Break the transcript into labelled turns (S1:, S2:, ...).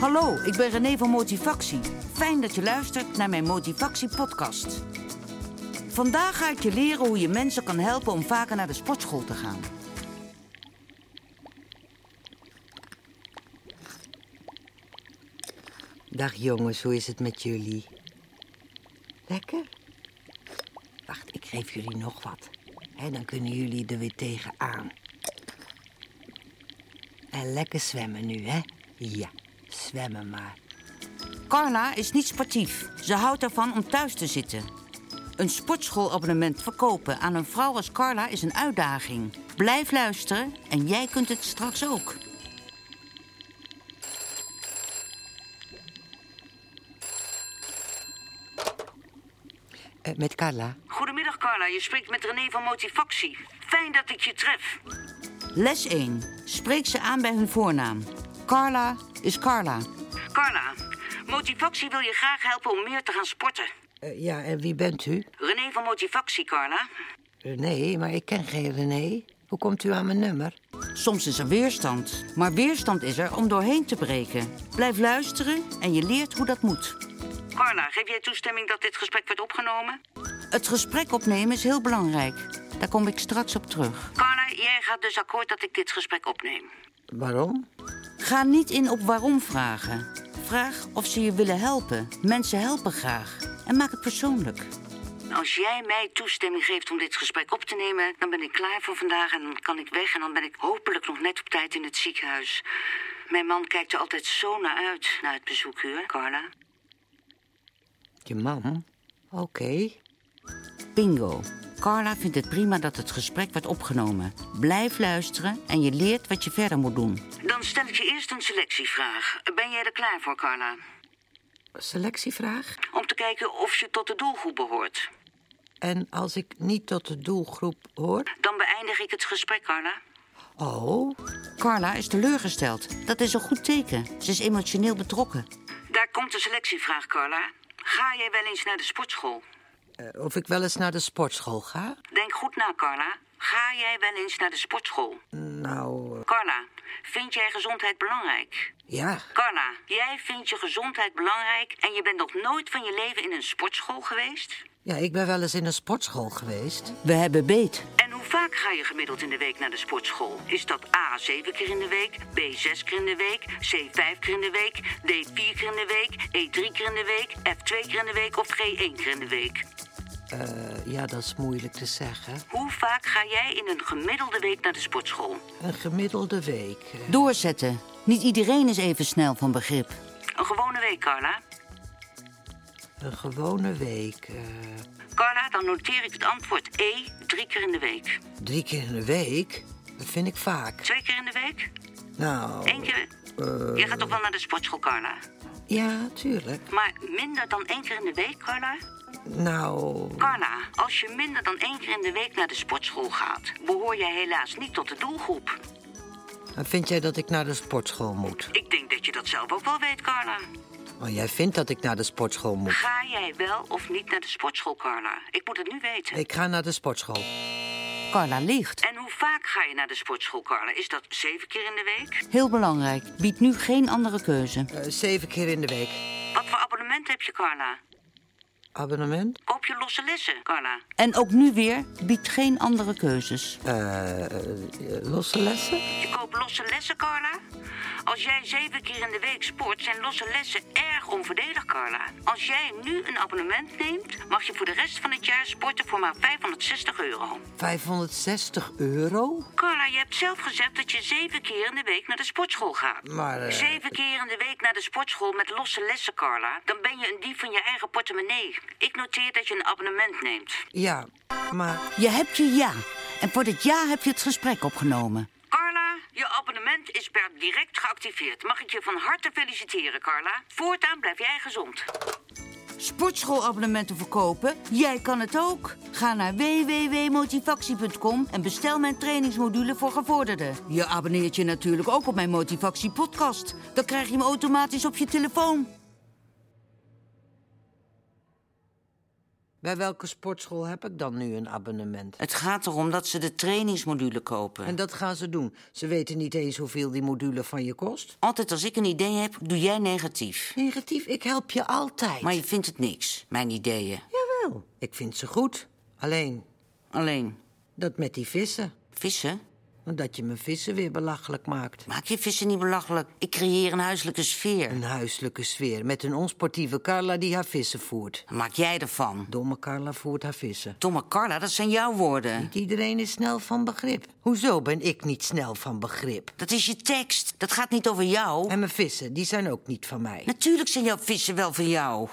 S1: Hallo, ik ben René van Motivatie. Fijn dat je luistert naar mijn Motivatie-podcast. Vandaag ga ik je leren hoe je mensen kan helpen om vaker naar de sportschool te gaan.
S2: Dag jongens, hoe is het met jullie? Lekker? Wacht, ik geef jullie nog wat. Hè, dan kunnen jullie er weer tegenaan. En lekker zwemmen nu, hè? Ja, zwemmen maar.
S1: Carla is niet sportief. Ze houdt ervan om thuis te zitten. Een sportschoolabonnement verkopen aan een vrouw als Carla is een uitdaging. Blijf luisteren en jij kunt het straks ook.
S2: Eh, met Carla?
S1: Goedemiddag Carla, je spreekt met René van Motivatie. Fijn dat ik je tref. Les 1. Spreek ze aan bij hun voornaam. Carla is Carla. Carla, Motivatie wil je graag helpen om meer te gaan sporten.
S2: Eh, ja, en wie bent u?
S1: René van Motivatie, Carla.
S2: René, maar ik ken geen René. Hoe komt u aan mijn nummer?
S1: Soms is er weerstand, maar weerstand is er om doorheen te breken. Blijf luisteren en je leert hoe dat moet. Carla, geef jij toestemming dat dit gesprek wordt opgenomen? Het gesprek opnemen is heel belangrijk. Daar kom ik straks op terug. Carla, jij gaat dus akkoord dat ik dit gesprek opneem.
S2: Waarom?
S1: Ga niet in op waarom vragen. Vraag of ze je willen helpen. Mensen helpen graag. En maak het persoonlijk. Als jij mij toestemming geeft om dit gesprek op te nemen, dan ben ik klaar voor vandaag en dan kan ik weg en dan ben ik hopelijk nog net op tijd in het ziekenhuis. Mijn man kijkt er altijd zo naar uit, naar het bezoekuur, Carla.
S2: Je man? Oké.
S1: Bingo. Carla vindt het prima dat het gesprek wordt opgenomen. Blijf luisteren en je leert wat je verder moet doen. Dan stel ik je eerst een selectievraag. Ben jij er klaar voor, Carla?
S2: Selectievraag?
S1: Om te kijken of je tot de doelgroep behoort.
S2: En als ik niet tot de doelgroep hoor?
S1: Dan beëindig ik het gesprek, Carla.
S2: Oh,
S1: Carla is teleurgesteld. Dat is een goed teken. Ze is emotioneel betrokken. Daar komt de selectievraag, Carla. Ga jij wel eens naar de sportschool?
S2: eh, of ik wel eens naar de sportschool ga?
S1: Denk goed na, Carla. Ga jij wel eens naar de sportschool?
S2: Nou, eh,
S1: Carla, vind jij gezondheid belangrijk?
S2: ja.
S1: Carla, jij vindt je gezondheid belangrijk en je bent nog nooit van je leven in een sportschool geweest?
S2: Ja, ik ben wel eens in een sportschool geweest.
S1: We hebben beet. En hoe vaak ga je gemiddeld in de week naar de sportschool? Is dat A 7 keer in de week, B 6 keer in de week, C 5 keer in de week, D 4 keer in de week, E 3 keer in de week, F 2 keer in de week of G 1 keer in de week?
S2: Eh, ja, dat is moeilijk te zeggen.
S1: Hoe vaak ga jij in een gemiddelde week naar de sportschool?
S2: Een gemiddelde week. eh,
S1: Doorzetten. Niet iedereen is even snel van begrip. Een gewone week, Carla.
S2: Een gewone week. eh,
S1: Carla, dan noteer ik het antwoord E 3 keer in de week.
S2: drie keer in de week? Dat vind ik vaak.
S1: Twee keer in de week?
S2: Nou,
S1: Eén keer? Jij gaat toch wel naar de sportschool, Carla?
S2: ja, tuurlijk.
S1: Maar minder dan één keer in de week, Carla?
S2: Nou,
S1: Carla, als je minder dan één keer in de week naar de sportschool gaat, behoor jij helaas niet tot de doelgroep.
S2: dan vind jij dat ik naar de sportschool moet?
S1: Ik denk dat je dat zelf ook wel weet, Carla.
S2: Oh, jij vindt dat ik naar de sportschool moet?
S1: Ga jij wel of niet naar de sportschool, Carla? Ik moet het nu weten.
S2: Ik ga naar de sportschool.
S1: Carla ligt. En hoe vaak ga je naar de sportschool, Carla? Is dat zeven keer in de week? Heel belangrijk. Biedt nu geen andere keuze.
S2: Eh, zeven keer in de week.
S1: Wat voor abonnement heb je, Carla?
S2: Abonnement?
S1: Koop je losse lessen, Carla? En ook nu weer biedt geen andere keuzes.
S2: Eh, eh, losse lessen?
S1: Je koopt losse lessen, Carla? Als jij zeven keer in de week sport, zijn losse lessen erg onvoordelig, Carla. Als jij nu een abonnement neemt, mag je voor de rest van het jaar sporten voor maar 560 euro.
S2: 560 euro?
S1: Carla, je hebt zelf gezegd dat je zeven keer in de week naar de sportschool gaat.
S2: Maar, eh,
S1: Zeven keer in de week naar de sportschool met losse lessen, Carla. Dan ben je een dief van je eigen portemonnee. Ik noteer dat je een abonnement neemt.
S2: Ja, maar
S1: Je hebt je ja. En voor dit ja heb je het gesprek opgenomen. Carla, je abonnement is per direct geactiveerd. Mag ik je van harte feliciteren, Carla. Voortaan blijf jij gezond. Sportschoolabonnementen verkopen? Jij kan het ook. Ga naar www.motivatie.com en bestel mijn trainingsmodule voor gevorderden. Je abonneert je natuurlijk ook op mijn Motivatie podcast. Dan krijg je hem automatisch op je telefoon.
S2: Bij welke sportschool heb ik dan nu een abonnement?
S1: Het gaat erom dat ze de trainingsmodule kopen.
S2: En dat gaan ze doen. Ze weten niet eens hoeveel die module van je kost.
S1: Altijd als ik een idee heb, doe jij negatief.
S2: Negatief, ik help je altijd.
S1: Maar je vindt het niks, mijn ideeën.
S2: Jawel, ik vind ze goed. Alleen,
S1: Alleen,
S2: dat met die vissen.
S1: vissen?
S2: Dat je mijn vissen weer belachelijk maakt.
S1: Maak je vissen niet belachelijk. Ik creëer een huiselijke sfeer.
S2: Een huiselijke sfeer met een onsportieve Carla die haar vissen voert.
S1: Maak jij ervan.
S2: Domme Carla voert haar vissen.
S1: Domme Carla, dat zijn jouw woorden.
S2: Niet iedereen is snel van begrip. Hoezo ben ik niet snel van begrip?
S1: Dat is je tekst. Dat gaat niet over jou.
S2: En mijn vissen, die zijn ook niet van mij.
S1: Natuurlijk zijn jouw vissen wel van jou.